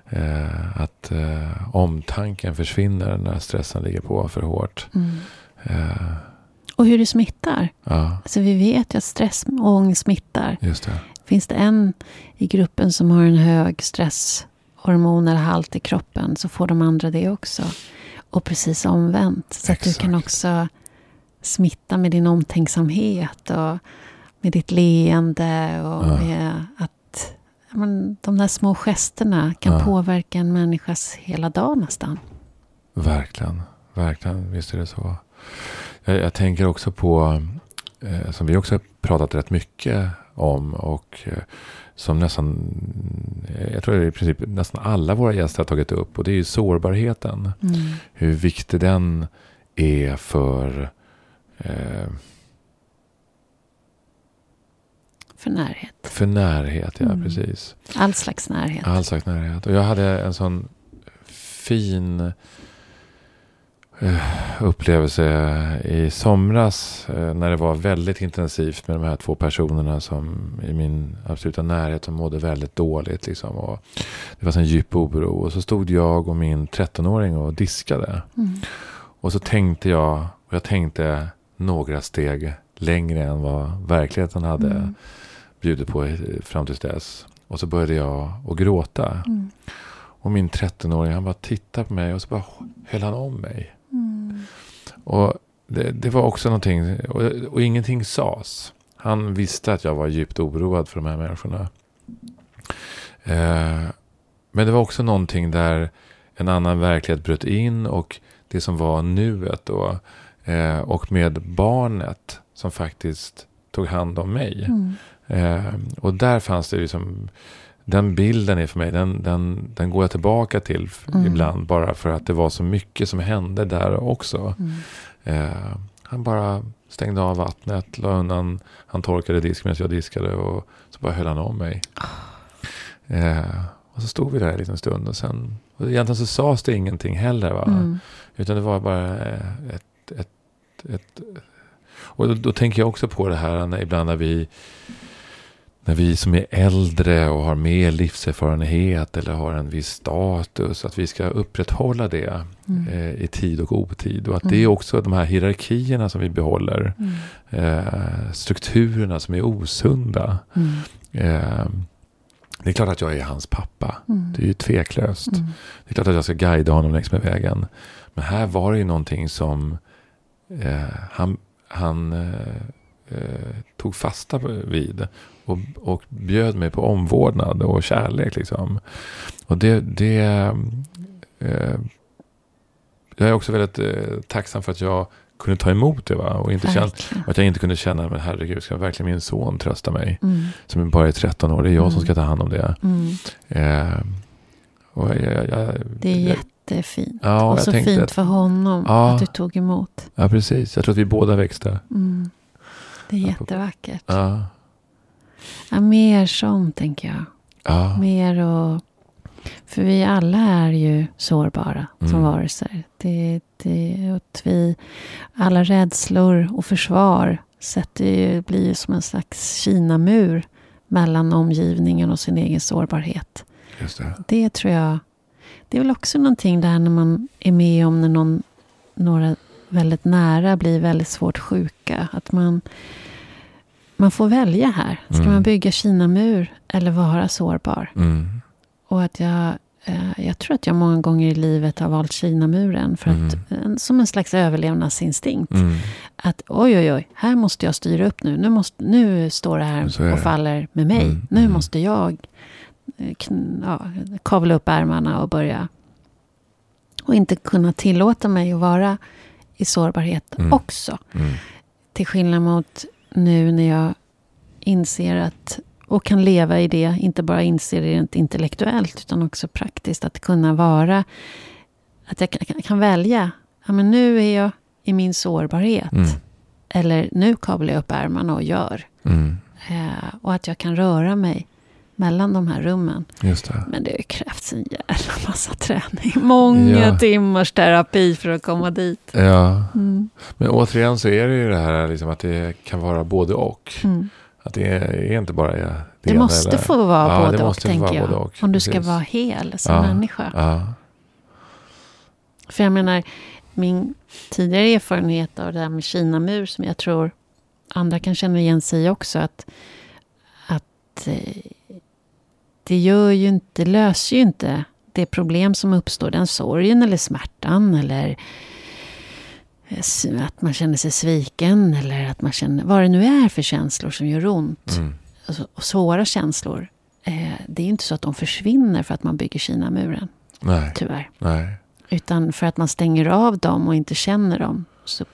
Speaker 1: eh, att eh, omtanken försvinner när stressen ligger på för hårt.
Speaker 2: Mm.
Speaker 1: Eh,
Speaker 2: Och hur det smittar.
Speaker 1: ja,
Speaker 2: Alltså vi vet ju att stress och ångest smittar.
Speaker 1: just det.
Speaker 2: Finns det en i gruppen som har en hög stresshormon eller halt i kroppen så får de andra det också. Och precis omvänt. Så att du kan
Speaker 1: Exakt.
Speaker 2: också smitta med din omtänksamhet och med ditt leende och
Speaker 1: Ja.
Speaker 2: med att ja, men, de där små gesterna kan
Speaker 1: Ja.
Speaker 2: påverka en människas hela dag nästan.
Speaker 1: Verkligen, verkligen. Visst är det så. Jag, jag tänker också på, eh, som vi också har pratat rätt mycket om och eh, som nästan, eh, jag tror det är i princip nästan alla våra gäster har tagit upp och det är ju sårbarheten.
Speaker 2: Mm.
Speaker 1: Hur viktig den är för, eh,
Speaker 2: För närhet.
Speaker 1: för närhet, ja
Speaker 2: Mm.
Speaker 1: precis.
Speaker 2: All slags närhet.
Speaker 1: All slags närhet. Och jag hade en sån fin eh, upplevelse i somras eh, när det var väldigt intensivt med de här två personerna som i min absoluta närhet som mådde väldigt dåligt. Liksom. Och det var en djup oro och så stod jag och min 13-åring och diskade.
Speaker 2: Mm.
Speaker 1: Och så tänkte jag, och jag tänkte några steg längre än vad verkligheten hade
Speaker 2: Mm.
Speaker 1: bjudit på eh, fram tills dess. Och så började jag att gråta.
Speaker 2: Mm.
Speaker 1: Och min 13-åring han bara tittade på mig och så bara höll han om mig.
Speaker 2: Mm.
Speaker 1: Och det, det var också någonting, och, och ingenting sades. Han visste att jag var djupt oroad för de här människorna. Eh, men det var också någonting där en annan verklighet bröt in och det som var nuet då. Eh, och med barnet som faktiskt tog hand om mig.
Speaker 2: Mm.
Speaker 1: Eh, och där fanns det liksom, den bilden är för mig, den, den, den går jag tillbaka till f-
Speaker 2: Mm.
Speaker 1: ibland bara för att det var så mycket som hände där också.
Speaker 2: Mm.
Speaker 1: Eh, han bara stängde av vattnet, la undan, han torkade disk medan jag diskade och så bara höll han om mig. Eh, och så stod vi där en liten stund och sen, och egentligen så sades det ingenting heller va.
Speaker 2: Mm.
Speaker 1: Utan det var bara eh, ett, ett ett och då, då tänker jag också på det här när, ibland när vi, när vi som är äldre och har mer livserfarenhet eller har en viss status, att vi ska upprätthålla det
Speaker 2: Mm.
Speaker 1: eh, i tid och otid. Och att
Speaker 2: Mm.
Speaker 1: det är också de här hierarkierna som vi behåller,
Speaker 2: Mm.
Speaker 1: eh, strukturerna som är osunda.
Speaker 2: Mm.
Speaker 1: Eh, det är klart att jag är hans pappa.
Speaker 2: Mm.
Speaker 1: Det är ju tveklöst.
Speaker 2: Mm.
Speaker 1: Det är klart att jag ska guida honom längs med vägen. Men här var det ju någonting som eh, han, han eh, eh, tog fasta vid. Och, och bjöd mig på omvårdnad och kärlek. Liksom. Och det... det eh, jag är också väldigt eh, tacksam för att jag kunde ta emot det. Va? Och inte känna,
Speaker 2: Verkligen.
Speaker 1: att jag inte kunde känna, men herregud, ska verkligen min son trösta mig?
Speaker 2: Mm.
Speaker 1: Som bara är 13 år, det är jag som ska ta hand om det.
Speaker 2: Mm.
Speaker 1: Eh, och jag, jag, jag,
Speaker 2: Det är
Speaker 1: jag,
Speaker 2: jättefint.
Speaker 1: Ja,
Speaker 2: och
Speaker 1: jag
Speaker 2: så
Speaker 1: tänkte
Speaker 2: fint
Speaker 1: att-
Speaker 2: för honom
Speaker 1: Ja.
Speaker 2: att du tog emot.
Speaker 1: ja, precis. Jag tror att vi båda växte.
Speaker 2: Mm. Det är
Speaker 1: Ja, på-
Speaker 2: jättevackert.
Speaker 1: Ja,
Speaker 2: Ja, mer sånt tänker jag.
Speaker 1: ja, Mm.
Speaker 2: Mer och... För vi alla är ju sårbara som
Speaker 1: Mm.
Speaker 2: varelser. Det, det, att vi, alla rädslor och försvar sätter ju, blir ju som en slags Kinamur mellan omgivningen och sin egen sårbarhet.
Speaker 1: just det.
Speaker 2: Det tror jag... Det är väl också någonting där när man är med om när någon, några väldigt nära blir väldigt svårt sjuka. Att man, man får välja här. Ska
Speaker 1: Mm.
Speaker 2: man bygga Kinamur eller vara sårbar?
Speaker 1: Mm.
Speaker 2: Och att jag, eh, jag tror att jag många gånger i livet har valt Kinamuren för att, en- som en slags överlevnadsinstinkt.
Speaker 1: Mm.
Speaker 2: Att oj, oj, oj, här måste jag styra upp nu. Nu, måste, nu står det
Speaker 1: Så är
Speaker 2: här
Speaker 1: det.
Speaker 2: och faller med mig.
Speaker 1: Mm,
Speaker 2: Nu
Speaker 1: mm.
Speaker 2: måste jag eh, kn- ja, kavla upp ärmarna och börja. Och inte kunna tillåta mig att vara i sårbarhet
Speaker 1: Mm.
Speaker 2: också.
Speaker 1: Mm.
Speaker 2: Till skillnad mot nu när jag inser att och kan leva i det, inte bara inser det rent intellektuellt utan också praktiskt. Att kunna vara, att jag kan, kan välja. Ja, men nu är jag i min sårbarhet.
Speaker 1: Mm.
Speaker 2: Eller nu kavlar jag upp ärmarna och gör.
Speaker 1: Mm.
Speaker 2: Eh, och att jag kan röra mig mellan de här rummen.
Speaker 1: Just det.
Speaker 2: Men det har ju krävts en jävla massa träning. Många
Speaker 1: Ja.
Speaker 2: timmars terapi för att komma dit.
Speaker 1: Ja,
Speaker 2: Mm.
Speaker 1: men återigen så är det ju det här liksom att det kan vara både och.
Speaker 2: Mm.
Speaker 1: Att det är, är inte bara det
Speaker 2: Det
Speaker 1: ena
Speaker 2: måste
Speaker 1: eller-
Speaker 2: få vara
Speaker 1: Ja, det
Speaker 2: både och,
Speaker 1: måste få
Speaker 2: tänker
Speaker 1: vara
Speaker 2: jag.
Speaker 1: både och,
Speaker 2: Om du ska
Speaker 1: precis.
Speaker 2: vara hel som
Speaker 1: Ja.
Speaker 2: människa.
Speaker 1: Ja.
Speaker 2: För jag menar, min tidigare erfarenhet av det här med Kinamur, som jag tror andra kan känna igen sig i också, att, att eh, det gör ju inte, löser ju inte det problem som uppstår, den sorgen eller smärtan eller eh, s- att man känner sig sviken eller att man känner, vad det nu är för känslor som gör ont
Speaker 1: Mm.
Speaker 2: alltså, och svåra känslor. Eh, det är inte så att de försvinner för att man bygger Kinamuren,
Speaker 1: Nej,
Speaker 2: tyvärr.
Speaker 1: nej.
Speaker 2: Utan för att man stänger av dem och inte känner dem. Så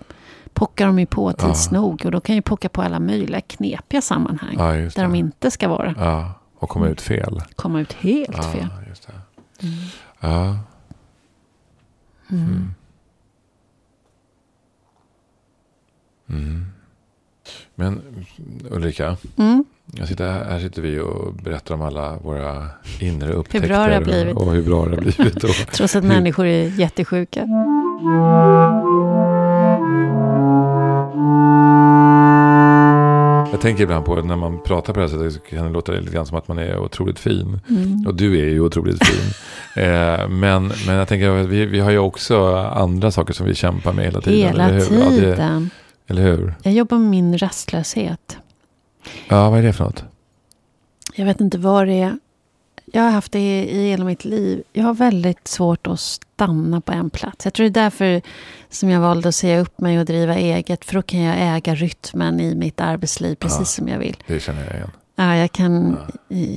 Speaker 2: pockar de ju på tids
Speaker 1: Ja.
Speaker 2: nog. Och då kan ju pocka på alla möjliga knepiga sammanhang.
Speaker 1: Ja, just
Speaker 2: där de
Speaker 1: det.
Speaker 2: inte ska vara.
Speaker 1: Ja, och komma ut fel.
Speaker 2: Komma ut helt fel.
Speaker 1: Ja, just det. Ja. Mm. Mm. Men Ulrika,
Speaker 2: Mm.
Speaker 1: jag sitter, här här sitter vi och berättar om alla våra inre upptäckter.
Speaker 2: Hur bra det har blivit.
Speaker 1: Och hur bra det har blivit. Och,
Speaker 2: Trots att
Speaker 1: Hur- Mm.
Speaker 2: människor är jättesjuka.
Speaker 1: jag tänker ibland på när man pratar på det här sättet så kan det låta lite grann som att man är otroligt fin.
Speaker 2: Mm.
Speaker 1: Och du är ju otroligt fin. eh, men, men jag tänker att vi, vi har ju också andra saker som vi kämpar med hela tiden.
Speaker 2: Hela
Speaker 1: eller hur? Ja, det,
Speaker 2: tiden.
Speaker 1: eller hur?
Speaker 2: Jag jobbar med min rastlöshet.
Speaker 1: Ja, vad är det för något?
Speaker 2: Jag vet inte vad det är. Jag har haft det i hela mitt liv. Jag har väldigt svårt att stanna på en plats. Jag tror det är därför som jag valde att säga upp mig och driva eget. För då kan jag äga rytmen i mitt arbetsliv precis
Speaker 1: Ja.
Speaker 2: som jag vill.
Speaker 1: Det känner jag igen.
Speaker 2: Ja, jag, kan,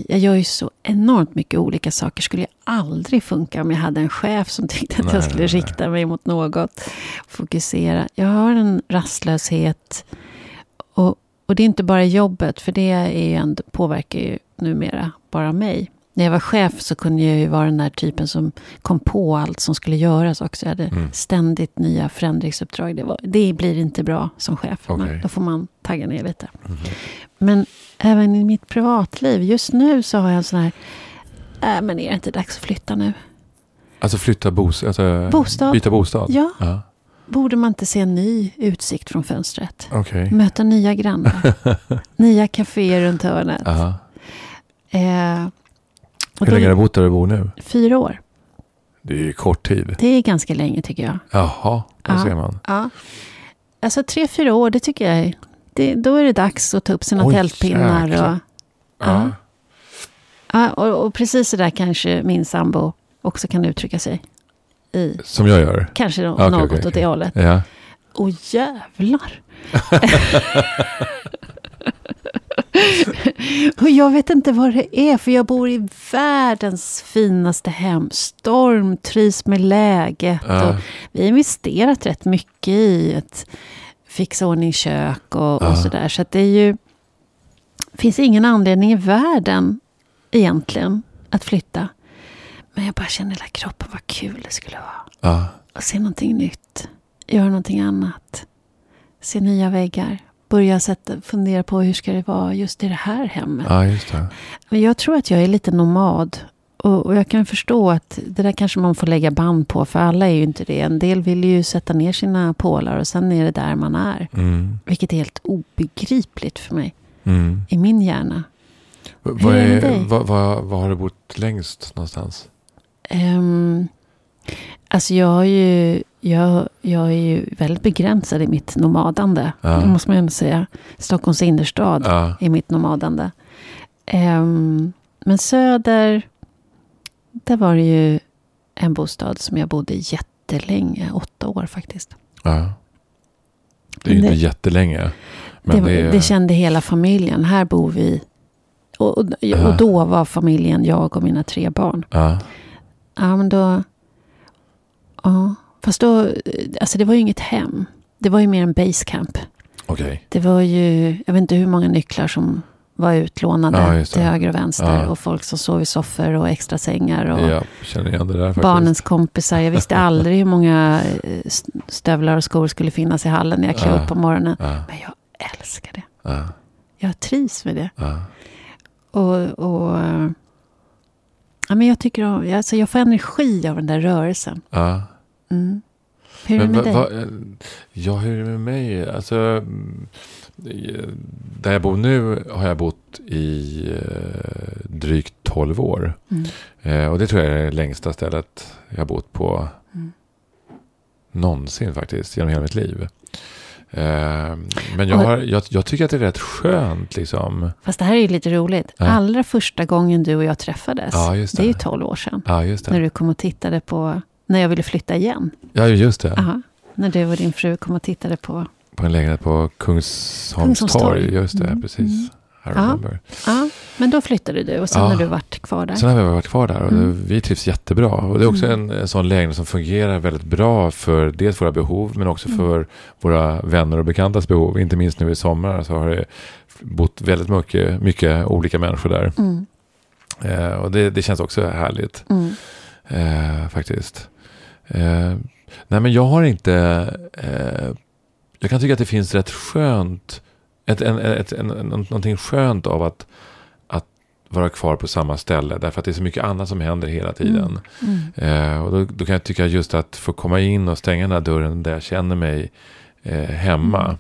Speaker 2: jag gör ju så enormt mycket olika saker. Skulle jag aldrig funka om jag hade en chef som tyckte att
Speaker 1: Nej,
Speaker 2: jag skulle
Speaker 1: nej, nej.
Speaker 2: rikta mig mot något. Fokusera. Jag har en rastlöshet. Och, och det är inte bara jobbet, för det är ju ändå, påverkar ju numera bara mig. När jag var chef så kunde jag ju vara den där typen som kom på allt som skulle göras också. Jag hade
Speaker 1: Mm.
Speaker 2: ständigt nya förändringsuppdrag. Det, var, det blir inte bra som chef. Man-
Speaker 1: Okej.
Speaker 2: Då får man tagga ner lite. Mm-hmm. Men även i mitt privatliv. Just nu så har jag en sån här... Äh, men är det inte dags att flytta nu?
Speaker 1: Alltså flytta bostad? Alltså,
Speaker 2: Bostad.
Speaker 1: Byta bostad?
Speaker 2: Ja,
Speaker 1: Ja.
Speaker 2: borde man inte se en ny utsikt från fönstret?
Speaker 1: Okej.
Speaker 2: Möta nya grannar, nya kaféer runt hörnet.
Speaker 1: Aha.
Speaker 2: Eh, och
Speaker 1: Hur länge har
Speaker 2: då,
Speaker 1: du bott där du bor nu?
Speaker 2: fyra år.
Speaker 1: Det är ju kort tid.
Speaker 2: Det är ganska länge tycker jag.
Speaker 1: Jaha, där
Speaker 2: Ja.
Speaker 1: ser man.
Speaker 2: Ja. Alltså tre, fyra år, det tycker jag är... Det, då är det dags att ta upp sina
Speaker 1: Oj,
Speaker 2: tältpinnar.
Speaker 1: jäklar.
Speaker 2: Och,
Speaker 1: Ja.
Speaker 2: Ja. ja, och, och precis så där kanske min sambo också kan uttrycka sig. I
Speaker 1: Som jag gör.
Speaker 2: kanske nå-
Speaker 1: Okej,
Speaker 2: något
Speaker 1: okej,
Speaker 2: åt
Speaker 1: okej.
Speaker 2: det hållet.
Speaker 1: Ja.
Speaker 2: Åh jävlar! och jag vet inte vad det är, för jag bor i världens finaste hem. Stormtrivs med läget. Och
Speaker 1: Ja.
Speaker 2: vi har investerat rätt mycket i att fixa ordning kök och,
Speaker 1: Ja.
Speaker 2: och sådär. Så att det är ju... finns ingen anledning i världen egentligen att flytta. Men jag bara känner hela kroppen vad kul det skulle vara.
Speaker 1: Ja.
Speaker 2: Att se någonting nytt. Göra någonting annat. Se nya väggar. Börja sätta, fundera på hur ska det vara just i det här hemmet.
Speaker 1: ja, just det.
Speaker 2: Men Jag tror att jag är lite nomad. Och, och jag kan förstå att det där kanske man får lägga band på, för alla är ju inte det. En del vill ju sätta ner sina pålar och sen är det där man är.
Speaker 1: Mm.
Speaker 2: Vilket är helt obegripligt för mig,
Speaker 1: Mm.
Speaker 2: i min hjärna.
Speaker 1: V-
Speaker 2: Hur
Speaker 1: Vad,
Speaker 2: är det med
Speaker 1: är,
Speaker 2: dig?
Speaker 1: vad, vad, vad har du bott längst någonstans?
Speaker 2: Um, alltså jag, har ju, jag, jag är ju väldigt begränsad i mitt nomadande.
Speaker 1: Ja.
Speaker 2: Det måste man ju ändå säga. Stockholms innerstad
Speaker 1: Ja.
Speaker 2: är mitt nomadande. Ehm, men söder, där var det ju en bostad som jag bodde i jättelänge. Åtta år faktiskt.
Speaker 1: ja. Det är ju
Speaker 2: Det-
Speaker 1: inte jättelänge.
Speaker 2: Det,
Speaker 1: Men
Speaker 2: var-
Speaker 1: det, är,
Speaker 2: det kände hela familjen. Här bor vi. Och, och,
Speaker 1: Ja.
Speaker 2: och då var familjen jag och mina tre barn.
Speaker 1: ja.
Speaker 2: Ja, men då... Ja, fast då... eh, Alltså det var ju inget hem. Det var ju mer en basecamp.
Speaker 1: Okej.
Speaker 2: Det var ju... Jag vet inte hur många nycklar som var utlånade
Speaker 1: Ja, just det.
Speaker 2: till höger och vänster.
Speaker 1: Ja.
Speaker 2: Och folk som sov i soffor och extra sängar och
Speaker 1: Ja, känner igen det där faktiskt.
Speaker 2: barnens kompisar. Jag visste aldrig hur många eh, s- stövlar och skor skulle finnas i hallen när jag klev
Speaker 1: Ja.
Speaker 2: upp på morgonen.
Speaker 1: Ja,
Speaker 2: Men jag älskar det.
Speaker 1: ja,
Speaker 2: Jag trivs med det.
Speaker 1: ja.
Speaker 2: Och... och eh, ja, men jag tycker om... Alltså jag får energi av den där rörelsen.
Speaker 1: ja.
Speaker 2: Mm. Hur är det med
Speaker 1: va-
Speaker 2: dig?
Speaker 1: va- eh, ja, hur är det med mig? Alltså, mm, eh, där jag bor nu har jag bott i eh, drygt 12 år.
Speaker 2: Mm.
Speaker 1: Eh, och det tror jag är det längsta stället jag har bott på
Speaker 2: Mm.
Speaker 1: någonsin faktiskt, genom hela mitt liv. Eh, men jag,
Speaker 2: Och- Alltså,
Speaker 1: har, jag, jag tycker att det är rätt skönt liksom.
Speaker 2: Fast det här är ju lite roligt.
Speaker 1: Ja.
Speaker 2: Allra första gången du och jag träffades,
Speaker 1: Ja, just
Speaker 2: det är ju
Speaker 1: det.
Speaker 2: 12 år sedan,
Speaker 1: Ja, just
Speaker 2: när
Speaker 1: det.
Speaker 2: du kom och tittade på, när jag ville flytta igen.
Speaker 1: Ja, just det.
Speaker 2: Aha. När du och din fru kom och tittade på,
Speaker 1: På en lägenhet på Kungsholms
Speaker 2: Kungsholms torg.
Speaker 1: torg. Just det,
Speaker 2: Mm,
Speaker 1: precis. I remember.
Speaker 2: ja, men då flyttade du och sen
Speaker 1: Ja.
Speaker 2: har du varit kvar där.
Speaker 1: Sen har vi varit kvar där och
Speaker 2: Mm.
Speaker 1: vi trivs jättebra. Och det är också
Speaker 2: Mm.
Speaker 1: en, en sån lägenhet som fungerar väldigt bra för dels våra behov men också
Speaker 2: Mm.
Speaker 1: för våra vänner och bekantas behov. Inte minst nu i sommar så har det bott väldigt mycket, mycket olika människor där.
Speaker 2: Mm,
Speaker 1: Eh, och det, det känns också härligt
Speaker 2: mm,
Speaker 1: eh, faktiskt. Eh, nej men jag har inte... Eh, jag kan tycka att det finns rätt skönt, ett, en, ett, en, en, någonting skönt av att, att vara kvar på samma ställe. Därför att det är så mycket annat som händer hela tiden.
Speaker 2: mm,
Speaker 1: Eh, och då, då kan jag tycka just att få komma in och stänga den här dörren där jag känner mig eh, hemma.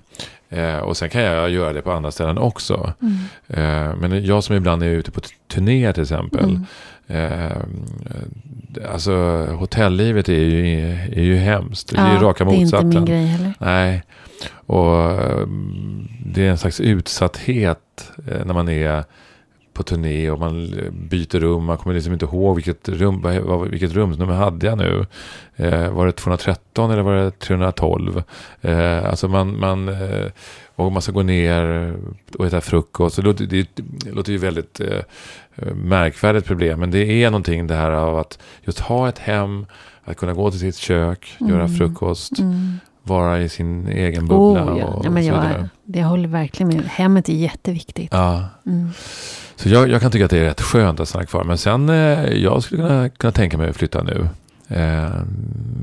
Speaker 1: Eh, och sen kan jag göra det på andra ställen också.
Speaker 2: mm,
Speaker 1: Eh, men jag som ibland är ute på t- turnéer till exempel.
Speaker 2: mm,
Speaker 1: Eh, alltså hotelllivet är ju, är ju hemskt. det är ju
Speaker 2: Ja,
Speaker 1: raka
Speaker 2: det är inte
Speaker 1: motsatsen.
Speaker 2: min grej heller.
Speaker 1: Nej. Och eh, det är en slags utsatthet eh, när man är på turné och man l- byter rum. Man kommer liksom inte ihåg vilket, rum, vad- vad- vilket rumsnummer hade jag nu. Eh, var det 213 eller var det 312? Eh, alltså man, man, eh, och man ska gå ner och äta frukost. Så Det låter, det, det låter ju väldigt eh, märkvärdigt problem. Men det är någonting det här av att just ha ett hem, att kunna gå till sitt kök, göra
Speaker 2: Mm.
Speaker 1: frukost
Speaker 2: Mm.
Speaker 1: vara i sin egen bubbla.
Speaker 2: Oh, ja.
Speaker 1: och
Speaker 2: ja, men
Speaker 1: så
Speaker 2: jag,
Speaker 1: vidare.
Speaker 2: det håller verkligen med. Hemmet är jätteviktigt.
Speaker 1: Ja,
Speaker 2: Mm.
Speaker 1: så jag, jag kan tycka att det är rätt skönt att stanna kvar. Men sen, eh, jag skulle kunna, kunna tänka mig att flytta nu. Eh,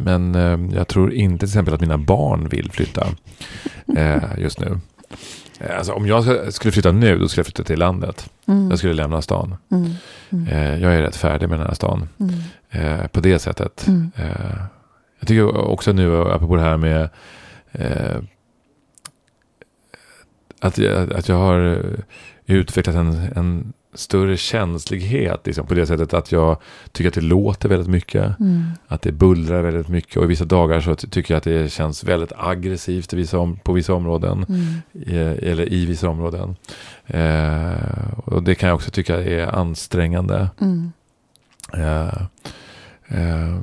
Speaker 1: men eh, jag tror inte till exempel att mina barn vill flytta eh, just nu. Eh, Alltså, om jag ska- skulle flytta nu, då skulle jag flytta till landet.
Speaker 2: Mm.
Speaker 1: Jag skulle lämna stan.
Speaker 2: Mm. Mm.
Speaker 1: Eh, jag är rätt färdig med den här stan.
Speaker 2: Mm.
Speaker 1: Eh, på det sättet.
Speaker 2: Mm.
Speaker 1: Eh, Jag tycker också nu, apropå det här med eh, att, jag, att jag har utvecklat en, en större känslighet liksom, på det sättet att jag tycker att det låter väldigt mycket.
Speaker 2: Mm.
Speaker 1: Att det bullrar väldigt mycket och i vissa dagar så ty- tycker jag att det känns väldigt aggressivt i vissa om, på vissa områden.
Speaker 2: Mm.
Speaker 1: I, eller i vissa områden. Eh, och det kan jag också tycka är ansträngande.
Speaker 2: Mm.
Speaker 1: Eh, eh,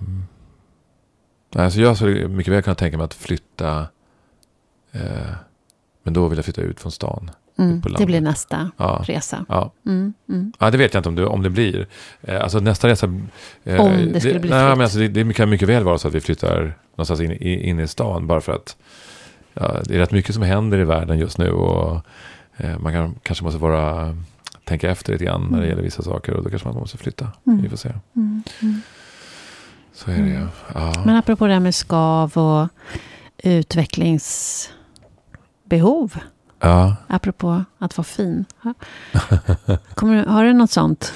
Speaker 1: alltså jag skulle mycket väl kunna tänka mig att flytta. Eh, men då vill jag flytta ut från stan.
Speaker 2: Mm.
Speaker 1: på
Speaker 2: Det blir
Speaker 1: landet.
Speaker 2: nästa
Speaker 1: Ja,
Speaker 2: resa.
Speaker 1: ja.
Speaker 2: Mm. Mm.
Speaker 1: Ja, det vet jag inte om det, om det blir. Eh, alltså nästa resa... eh,
Speaker 2: Om det skulle bli
Speaker 1: nej,
Speaker 2: flytt.
Speaker 1: men alltså, det, det kan mycket väl vara så att vi flyttar någonstans in, i- in i stan bara för att ja, det är rätt mycket som händer i världen just nu och eh, man kan, kanske måste vara, tänka efter lite grann när det
Speaker 2: Mm.
Speaker 1: gäller vissa saker och då kanske man måste flytta.
Speaker 2: Mm.
Speaker 1: Vi får se.
Speaker 2: Mm. Mm.
Speaker 1: Så är det ju.
Speaker 2: Mm.
Speaker 1: Ja.
Speaker 2: Men apropå det här med skav och utvecklingsbehov.
Speaker 1: ja.
Speaker 2: Apropå att vara fin. Ha- Kommer, du- har du något sånt?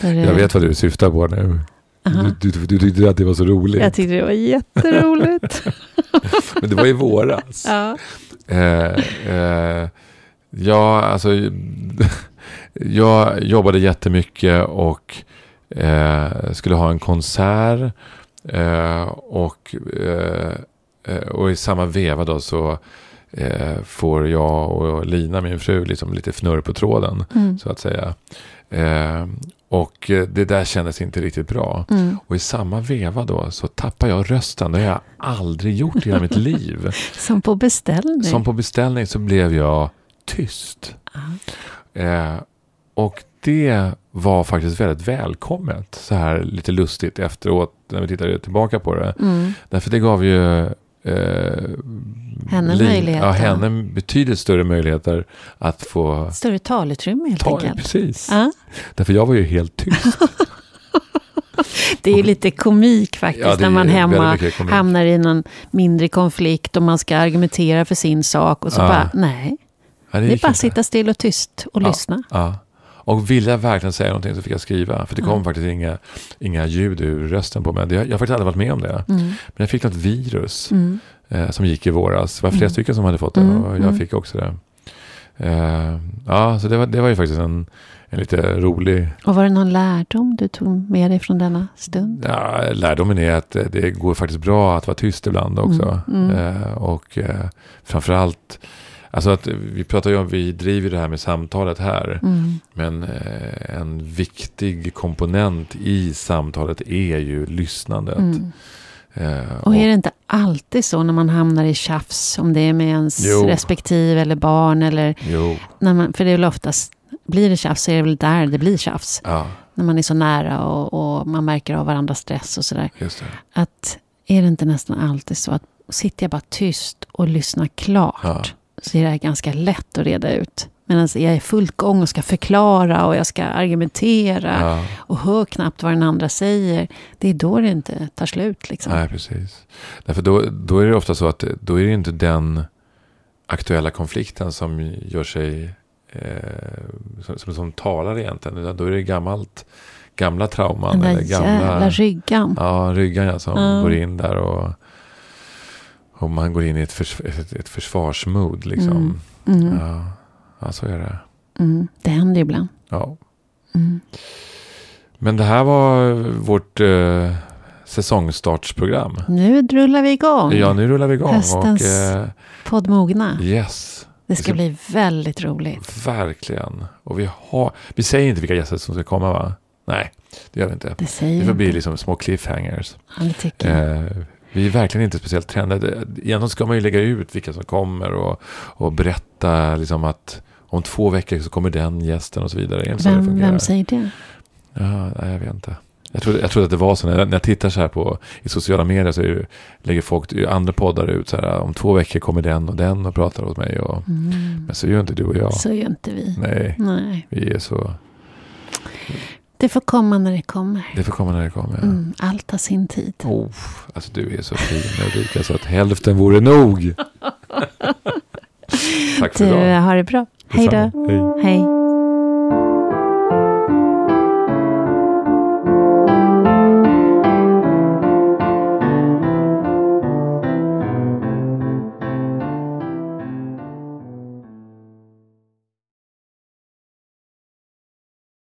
Speaker 2: Där du-
Speaker 1: Jag vet vad du syftar på nu.
Speaker 2: Mm. Aha.
Speaker 1: Du, du, du tyckte att det var så
Speaker 2: Jag
Speaker 1: roligt.
Speaker 2: tyckte det var jätteroligt.
Speaker 1: Men det var i våras.
Speaker 2: ja.
Speaker 1: Eh, eh, ja, alltså. jag jobbade jättemycket och eh, skulle ha en konsert. Eh, och, eh, eh, och i samma veva då så eh, får jag och Lina, min fru, liksom lite fnurr på tråden.
Speaker 2: Mm.
Speaker 1: Så att säga. Eh, och eh, det där kändes inte riktigt bra.
Speaker 2: Mm.
Speaker 1: Och i samma veva då så tappar jag rösten. Det har jag aldrig gjort i hela mitt liv.
Speaker 2: Som på beställning.
Speaker 1: Som på beställning så blev jag tyst.
Speaker 2: Ja.
Speaker 1: Eh, och det var faktiskt väldigt välkommet. Så här lite lustigt efteråt när vi tittade tillbaka på det.
Speaker 2: Mm.
Speaker 1: Därför det gav ju eh,
Speaker 2: Henne
Speaker 1: Li-
Speaker 2: möjligheten.
Speaker 1: Ja, henne betydligt större möjligheter att få
Speaker 2: Större talutrymme helt
Speaker 1: ta
Speaker 2: enkelt.
Speaker 1: Precis.
Speaker 2: Ja.
Speaker 1: Därför jag var ju helt tyst.
Speaker 2: Det är ju lite komik faktiskt
Speaker 1: Ja, det
Speaker 2: när man
Speaker 1: är väldigt
Speaker 2: hemma
Speaker 1: mycket komik.
Speaker 2: hamnar i någon mindre konflikt och man ska argumentera för sin sak och så
Speaker 1: Ja.
Speaker 2: bara, nej.
Speaker 1: Ja,
Speaker 2: Det är
Speaker 1: gick
Speaker 2: bara att
Speaker 1: inte.
Speaker 2: sitta still och tyst och
Speaker 1: Ja.
Speaker 2: lyssna.
Speaker 1: Ja. Och ville jag verkligen säga någonting så fick jag skriva. För det kom
Speaker 2: Mm.
Speaker 1: faktiskt inga, inga ljud ur rösten på mig. Det- Jag, jag har faktiskt aldrig varit med om det.
Speaker 2: Mm.
Speaker 1: Men jag fick något virus
Speaker 2: Mm.
Speaker 1: eh, som gick i våras. Det var flera
Speaker 2: Mm.
Speaker 1: stycken som hade fått det
Speaker 2: Mm,
Speaker 1: och
Speaker 2: mm.
Speaker 1: jag fick också det. Eh, ja, så det var, det var ju faktiskt en, en lite rolig...
Speaker 2: Och var det någon lärdom du tog med dig från denna stund?
Speaker 1: Ja, lärdomen är att eh, det går faktiskt bra att vara tyst ibland också.
Speaker 2: Mm, mm.
Speaker 1: Eh, och eh, framförallt, alltså att vi pratar ju om, vi driver det här med samtalet här.
Speaker 2: Mm.
Speaker 1: Men eh, en viktig komponent i samtalet är ju lyssnandet.
Speaker 2: Mm.
Speaker 1: Eh,
Speaker 2: Och är det inte alltid så när man hamnar i tjafs, om det är med ens
Speaker 1: Jo.
Speaker 2: respektive eller barn eller
Speaker 1: Jo,
Speaker 2: när man, för det är väl oftast, blir det tjafs så är det väl där det blir tjafs.
Speaker 1: ja,
Speaker 2: När man är så nära och, och man märker av varandras stress och sådär.
Speaker 1: just det.
Speaker 2: Att är det inte nästan alltid så att sitter jag bara tyst och lyssnar klart
Speaker 1: Ja.
Speaker 2: så är det här ganska lätt att reda ut. Medan jag är fullt gång och ska förklara och jag ska argumentera.
Speaker 1: Ja,
Speaker 2: och hör knappt vad den andra säger, det är då det inte tar slut. Liksom.
Speaker 1: nej, precis. Därför då, då är det ofta så att då är det inte den aktuella konflikten som gör sig eh, som, som, som talar egentligen. Utan då är det gammalt, gamla trauman.
Speaker 2: Den där
Speaker 1: eller gamla,
Speaker 2: jävla ryggan.
Speaker 1: Ja, ryggen ja, som
Speaker 2: Ja.
Speaker 1: går in där och, och man går in i ett, förs, ett, ett försvarsmood liksom.
Speaker 2: Mm. Mm,
Speaker 1: Ja, ja, så är det.
Speaker 2: mm. Det händer ju ibland.
Speaker 1: Ja.
Speaker 2: Mm.
Speaker 1: Men det här var vårt eh, säsongstartsprogram.
Speaker 2: Nu rullar vi igång.
Speaker 1: Ja, nu rullar vi igång.
Speaker 2: Höstens-
Speaker 1: Och, eh,
Speaker 2: Podd Mogna.
Speaker 1: yes,
Speaker 2: Det ska
Speaker 1: ska-
Speaker 2: bli väldigt roligt.
Speaker 1: verkligen. Och vi, har, vi säger inte vilka gäster som ska komma, va? Nej, det gör vi inte.
Speaker 2: Det säger
Speaker 1: Det får
Speaker 2: jag
Speaker 1: bli
Speaker 2: inte.
Speaker 1: liksom små cliffhangers.
Speaker 2: Ja, det tycker jag.
Speaker 1: Eh, vi är verkligen inte speciellt trendade. Egentligen ska man ju lägga ut vilka som kommer och, och berätta liksom att om två veckor så kommer den gästen och så vidare. Är det inte så det
Speaker 2: Vem,
Speaker 1: fungerar?
Speaker 2: vem säger det?
Speaker 1: Ja, nej, jag vet inte. Jag trodde, jag trodde att det var så. När jag, när jag tittar så här på i sociala medier så är ju, lägger folk, andra poddar ut så här. Om två veckor kommer den och den och pratar åt mig. Och,
Speaker 2: Mm.
Speaker 1: men så gör inte du och jag.
Speaker 2: Så gör inte vi.
Speaker 1: Nej,
Speaker 2: Nej.
Speaker 1: vi är så.
Speaker 2: Det får komma när det kommer.
Speaker 1: Det får komma när det kommer. ja.
Speaker 2: Mm. Allt har sin tid.
Speaker 1: Oh, alltså du är så fin Ulrika så att hälften vore nog. Tack för
Speaker 2: Du,
Speaker 1: idag.
Speaker 2: har det bra. eh, Hej
Speaker 1: Detsamma.
Speaker 2: då.
Speaker 1: Hej.
Speaker 2: Hej.